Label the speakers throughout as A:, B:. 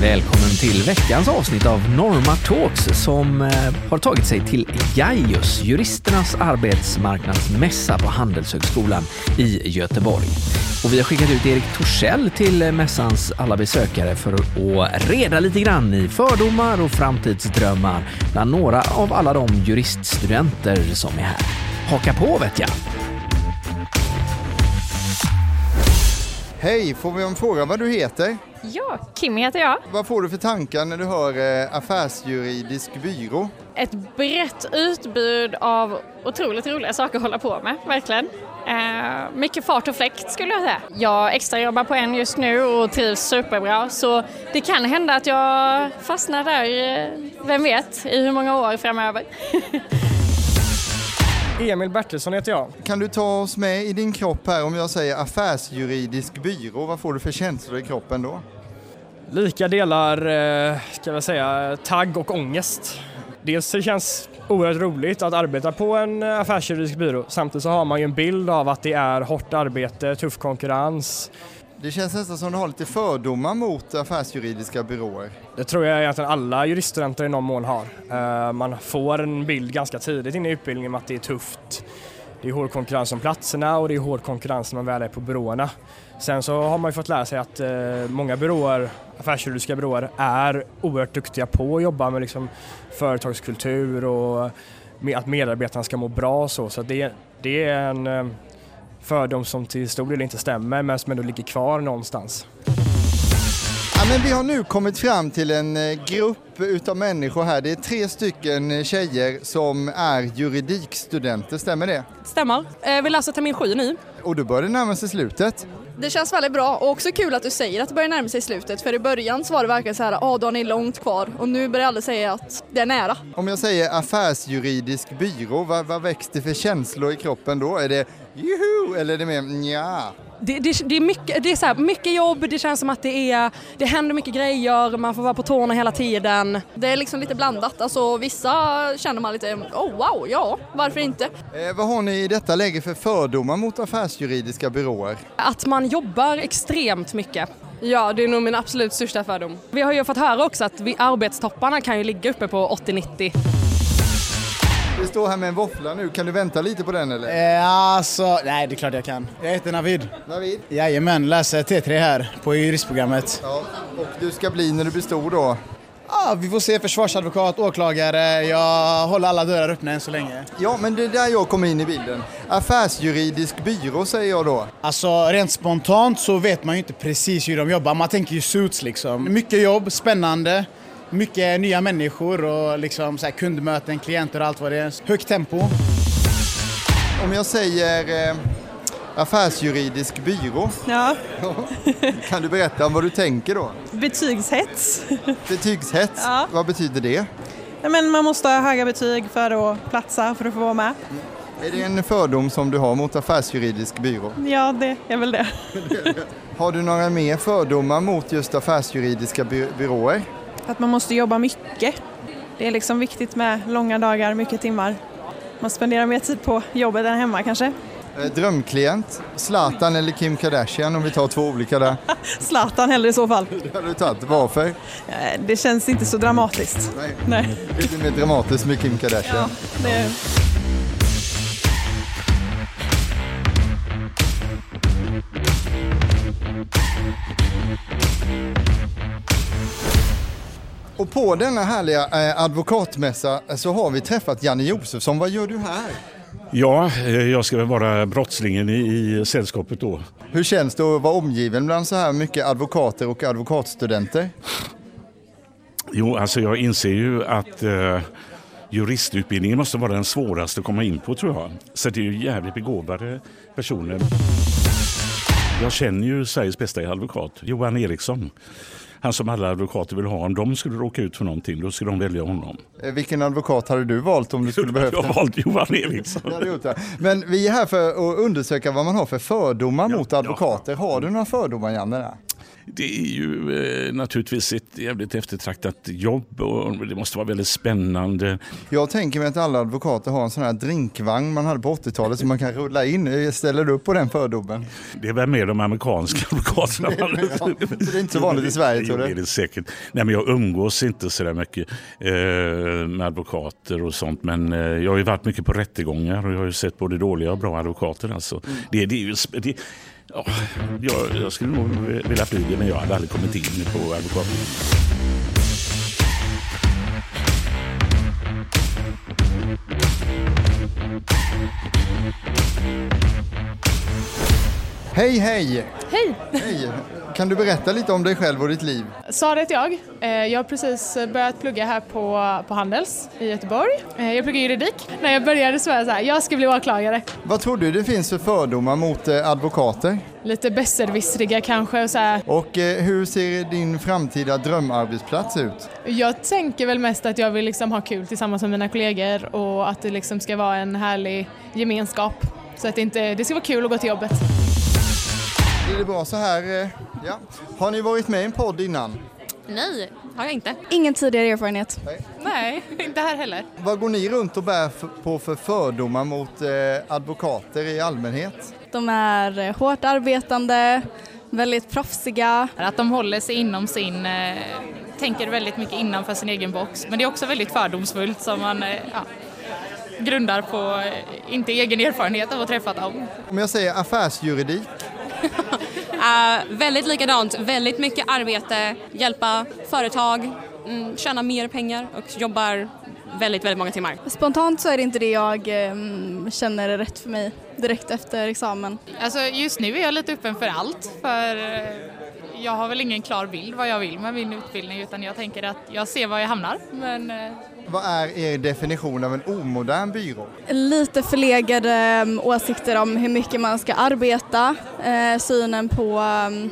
A: Välkommen till veckans avsnitt av Norma Talks som eh, har tagit sig till Gaius, juristernas arbetsmarknadsmässa på Handelshögskolan i Göteborg. Och vi har skickat ut Erik Torssell till eh, mässans alla besökare för att reda lite grann i fördomar och framtidsdrömmar bland några av alla de juriststudenter som är här. Haka på vet jag!
B: Hej, får vi en fråga vad du heter?
C: Ja, Kim heter jag.
B: Vad får du för tankar när du hör eh, affärsjuridisk byrå?
C: Ett brett utbud av otroligt roliga saker att hålla på med, verkligen. Eh, mycket fart och fläkt skulle jag säga. Jag extrajobbar på en just nu och trivs superbra så det kan hända att jag fastnar där, eh, vem vet, i hur många år framöver.
D: Emil Bertilsson heter jag.
B: Kan du ta oss med i din kropp här om jag säger affärsjuridisk byrå? Vad får du för känslor i kroppen då?
D: Lika delar, eh, ska jag säga, tagg och ångest. Dels det känns oerhört roligt att arbeta på en eh, affärsjuridisk byrå. Samtidigt så har man ju en bild av att det är hårt arbete, tuff konkurrens.
B: Det känns nästan som du har lite fördomar mot affärsjuridiska byråer.
D: Det tror jag egentligen alla juriststudenter i någon mån har. Eh, Man får en bild ganska tidigt in i utbildningen om att det är tufft. Det är hård konkurrens om platserna och det är hård konkurrens när man väl är på byråerna. Sen så har man ju fått lära sig att eh, många byråer, affärsjuridiska byråer, är oerhört duktiga på att jobba med liksom företagskultur och med att medarbetarna ska må bra och så. Så att det, det är en eh, fördom som till stor del inte stämmer men som ändå ligger kvar någonstans.
B: Ja, men vi har nu kommit fram till en eh, grupp utav människor här. Det är tre stycken eh, tjejer som är juridikstudenter, stämmer det?
E: Stämmer. Eh, vi läser termin sju nu.
B: Och du börjar det närma sig slutet.
F: Det känns väldigt bra och också kul att du säger att det börjar närma sig slutet för i början så var det verkligen så här, ja då har ni långt kvar och nu börjar alla säga att det är nära.
B: Om jag säger affärsjuridisk byrå, vad, vad väcks det för känslor i kroppen då? Är det juhu eller är det mer nja?
E: Det, det, det är, mycket, det är så här, mycket jobb, det känns som att det, är, det händer mycket grejer, man får vara på tårna hela tiden.
F: Det är liksom lite blandat, alltså vissa känner man lite, oh wow, ja, varför inte?
B: Eh, vad har ni i detta läge för fördomar mot affärsjuridiska byråer?
E: Att man jobbar extremt mycket.
G: Ja, det är nog min absolut största fördom.
E: Vi har ju fått höra också att vi, arbetstopparna kan ju ligga uppe på 80-90.
B: Vi står här med en våffla nu, kan du vänta lite på den eller?
H: Eh, Alltså, nej det är klart jag kan. Jag heter Navid.
B: Navid?
H: Jajamän, läser T3 här på juristprogrammet.
B: Ja, och du ska bli när du blir stor då?
H: Ah, vi får se försvarsadvokat, åklagare. Jag håller alla dörrar öppna än så länge.
B: Ja, men det är där jag kommer in i bilden. Affärsjuridisk byrå säger jag då.
H: Alltså rent spontant så vet man ju inte precis hur de jobbar. Man tänker ju suits liksom. Mycket jobb, spännande. Mycket nya människor och liksom så här kundmöten, klienter och allt vad det är. Högt tempo.
B: Om jag säger eh, affärsjuridisk byrå,
I: Ja,
B: kan du berätta om vad du tänker då?
I: betygshets.
B: Betygshets,
I: Ja.
B: vad betyder det?
I: Nej, men man måste ha höga betyg för att platsa, för att få vara med.
B: Är det en fördom som du har mot affärsjuridisk byrå?
I: Ja, det är väl det.
B: Har du några mer fördomar mot just affärsjuridiska by- byråer?
I: Att man måste jobba mycket. Det är liksom viktigt med långa dagar, mycket timmar. Man spenderar mer tid på jobbet än hemma kanske.
B: Eh, Drömklient? Zlatan eller Kim Kardashian om vi tar två olika där.
I: Zlatan hellre i så fall.
B: Det hade du tagit. Varför?
I: Eh, Det känns inte så dramatiskt.
B: Nej.
I: Nej.
B: Lite mer dramatiskt med Kim Kardashian.
I: Det...
B: Och på denna härliga eh, advokatmässa eh, så har vi träffat Janne Josefsson. Vad gör du här?
J: Ja, eh, jag ska väl vara brottslingen i, i sällskapet då.
B: Hur känns det att vara omgiven bland så här mycket advokater och advokatstudenter?
J: Jo, alltså jag inser ju att eh, juristutbildningen måste vara den svåraste att komma in på tror jag. Så det är ju jävligt begåvade personer. Jag känner ju Sveriges bästa advokat, Johan Eriksson. Han som alla advokater vill ha. Om de skulle råka ut för någonting, då skulle de välja honom.
B: Eh, Vilken advokat hade du valt om du skulle behövt
J: Jag
B: en?
J: har valt Johan Eriksson.
B: Det hade gjort det. Men vi är här för att undersöka vad man har för fördomar mot
J: ja.
B: advokater. Har du några fördomar Janne? Där?
J: det är ju eh, naturligtvis ett jävligt eftertraktat jobb och det måste vara väldigt spännande.
B: Jag tänker mig att alla advokater har en sån här drinkvagn man hade på 80-talet som man kan rulla in. Ställer du upp på den fördomen?
J: Det är väl mer de amerikanska advokaterna.
B: Ja, så det är inte så vanligt i Sverige, tror
J: Jo,
B: du?
J: det är det säkert. Nej, men jag umgås inte så där mycket eh, med advokater och sånt. Men eh, jag har ju varit mycket på rättegångar och jag har ju sett både dåliga och bra advokater. Alltså.
B: Mm.
J: Det, det är ju... sp- Det, ja, jag, jag skulle nog vilja bli det, men jag hade aldrig kommit in på advokatbyrån.
B: Hej, hej!
K: Hej!
B: Hej! Kan du berätta lite om dig själv och ditt liv?
K: Sara heter jag. Eh, Jag har precis börjat plugga här på, på Handels i Göteborg. Eh, Jag pluggar juridik. När jag började så var jag så här, jag ska bli åklagare.
B: Vad tror du det finns för fördomar mot eh, advokater?
K: Lite besserwissriga kanske och så här.
B: Och eh, hur ser din framtida drömarbetsplats ut?
K: Jag tänker väl mest att jag vill liksom ha kul tillsammans med mina kollegor och att det liksom ska vara en härlig gemenskap. Så att det, inte, det ska vara kul att gå till jobbet.
B: Blir det bra så här? eh, Ja. Har ni varit med i en podd innan?
G: Nej, har jag inte.
I: Ingen tidigare erfarenhet.
G: Nej, inte här heller.
B: Vad går ni runt och bär f- på för fördomar mot eh, advokater i allmänhet?
I: De är eh, hårt arbetande, väldigt proffsiga.
E: Att de håller sig inom sin, eh, tänker väldigt mycket innanför sin egen box. Men det är också väldigt fördomsfullt som man eh, ja, grundar på, eh, inte egen erfarenhet av att träffa dem.
B: Om jag säger affärsjuridik,
C: Uh, väldigt likadant, väldigt mycket arbete, hjälpa företag, mm, tjäna mer pengar och jobbar väldigt, väldigt många timmar.
I: Spontant så är det inte det jag eh, mm, känner är rätt för mig direkt efter examen.
E: Alltså just nu är jag lite öppen för allt för eh, jag har väl ingen klar bild vad jag vill med min utbildning utan jag tänker att jag ser var jag hamnar. Men eh,
B: vad är er definition av en omodern byrå?
I: Lite förlegade mm, åsikter om hur mycket man ska arbeta, eh, synen på mm,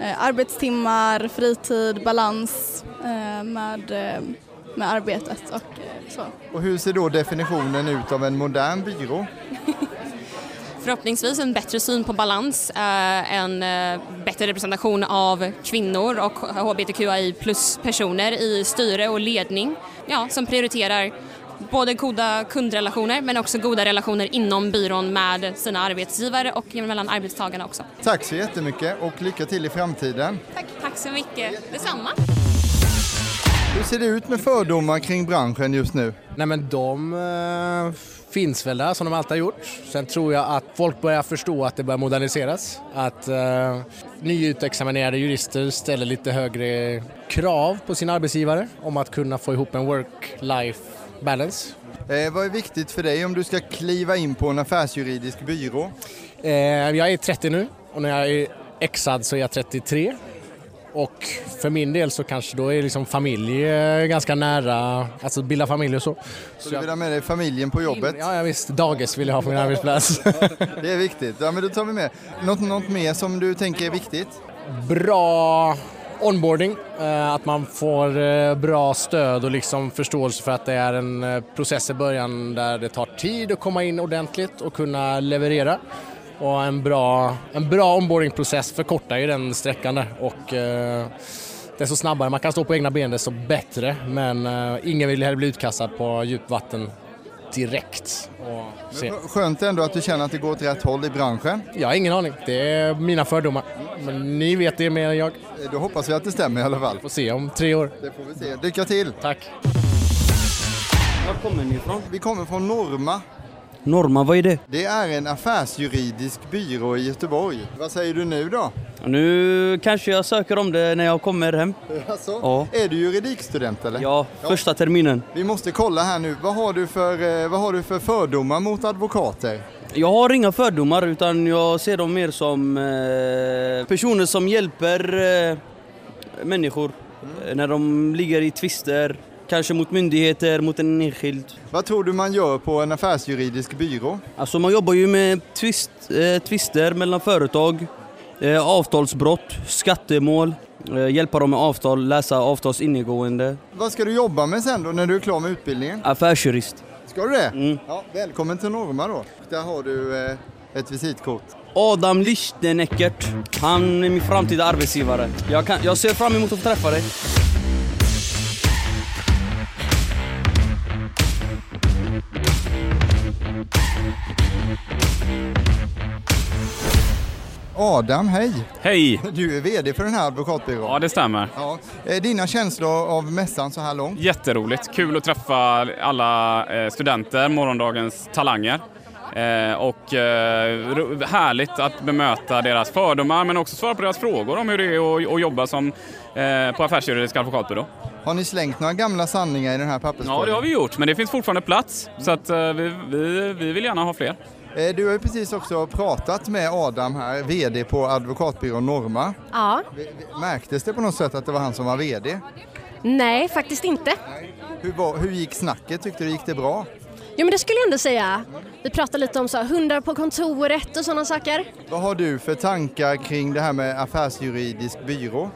I: eh, arbetstimmar, fritid, balans eh, med, eh, med arbetet och eh, så.
B: Och hur ser då definitionen ut av en modern byrå?
C: Förhoppningsvis en bättre syn på balans, eh, en eh, bättre representation av kvinnor och hbtqi plus-personer i styre och ledning ja, som prioriterar både goda kundrelationer men också goda relationer inom byrån med sina arbetsgivare och mellan arbetstagarna också.
B: Tack så jättemycket och lycka till i framtiden.
C: Tack, tack så mycket. Detsamma.
B: Hur ser det ut med fördomar kring branschen just nu?
H: Nej men de eh, finns väl där som de alltid har gjort. Sen tror jag att folk börjar förstå att det börjar moderniseras. Att eh, nyutexaminerade jurister ställer lite högre krav på sina arbetsgivare om att kunna få ihop en work-life balance.
B: Eh, vad är viktigt för dig om du ska kliva in på en affärsjuridisk byrå?
H: Eh, jag är 30 nu och när jag är exad så är jag 33. Och för min del så kanske då är liksom familj eh, ganska nära, alltså bilda familj och så.
B: Så du vill ha med dig familjen på jobbet?
H: Ja, ja visst, dagis vill jag ha på min arbetsplats.
B: Det är viktigt. Ja, men då tar vi med. Något, något mer som du tänker är viktigt?
H: bra onboarding, eh, att man får eh, bra stöd och liksom förståelse för att det är en eh, process i början där det tar tid att komma in ordentligt och kunna leverera. Och en bra, en bra onboardingprocess förkortar ju den sträckan där och eh, desto snabbare man kan stå på egna ben desto bättre men eh, ingen vill heller bli utkastad på djupt vatten direkt. Och se.
B: Skönt ändå att du känner att det går åt rätt håll i branschen.
H: Jag har ingen aning, det är mina fördomar. Men ni vet det mer än jag.
B: Eh, Då hoppas vi att det stämmer i alla fall.
H: Får se om tre år.
B: Det får vi se. Lycka till!
H: Tack!
B: Var kommer ni ifrån? Vi kommer från Norma.
L: Norma, vad är det?
B: Det är en affärsjuridisk byrå i Göteborg. Vad säger du nu då?
L: Nu kanske jag söker om det när jag kommer hem.
B: Alltså,
L: Ja.
B: Är du juridikstudent eller?
L: Ja, första terminen.
B: Vi måste kolla här nu. Vad har du för, eh, vad har du för fördomar mot advokater?
L: Jag har inga fördomar utan jag ser dem mer som eh, personer som hjälper eh, människor eh, när de ligger i tvister. Kanske mot myndigheter, mot en enskild.
B: Vad tror du man gör på en affärsjuridisk byrå?
L: Alltså man jobbar ju med twist, eh, tvister mellan företag, eh, avtalsbrott, skattemål, eh, hjälpa dem med avtal, läsa avtals innegående.
B: Vad ska du jobba med sen då när du är klar med utbildningen?
L: Affärsjurist.
H: Mm.
B: Ska du det? Ja, välkommen till Norma då. Där har du eh, ett visitkort.
H: Adam Lichtenäckert. Han är min framtida arbetsgivare. Jag, kan, jag ser fram emot att få träffa dig.
B: Adam, hej!
E: Hej!
B: Du är VD för den här advokatbyrån.
E: Ja, det stämmer.
B: Ja. Eh, Dina känslor av mässan så här långt?
E: Jätteroligt. Kul att träffa alla eh, studenter, morgondagens talanger. Eh, Och eh, ro- härligt att bemöta deras fördomar men också svara på deras frågor om hur det är att- att jobba som, eh, på affärsjuridisk advokatbyrå.
B: Har ni slängt några gamla sanningar i den här papperskorgen? Mm.
E: Ja, det har vi gjort, men det finns fortfarande plats. Så att eh, vi, vi, vi vill gärna ha fler.
B: Eh, Du har ju precis också pratat med Adam här, VD på advokatbyrån Norma.
C: Ja.
B: Märktes det på något sätt att det var han som var VD?
C: Nej, faktiskt inte.
B: Hur, var, hur gick snacket? Tyckte du gick det bra?
C: Jo, men det skulle jag ändå säga. Vi pratade lite om så här, hundar på kontoret och sådana saker.
B: Vad har du för tankar kring det här med affärsjuridisk byrå?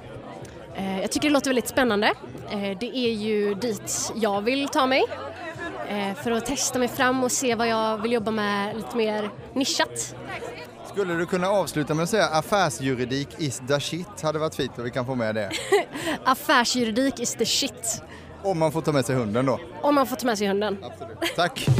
C: Eh, jag tycker det låter väldigt spännande. Eh, det är ju dit jag vill ta mig eh, för att testa mig fram och se vad jag vill jobba med lite mer nischat.
B: Skulle du kunna avsluta med att säga affärsjuridik is the shit? Hade varit fint om vi kan få med det.
C: Affärsjuridik is the shit.
B: Om man får ta med sig hunden då.
C: Om man får ta med sig hunden.
B: Tack!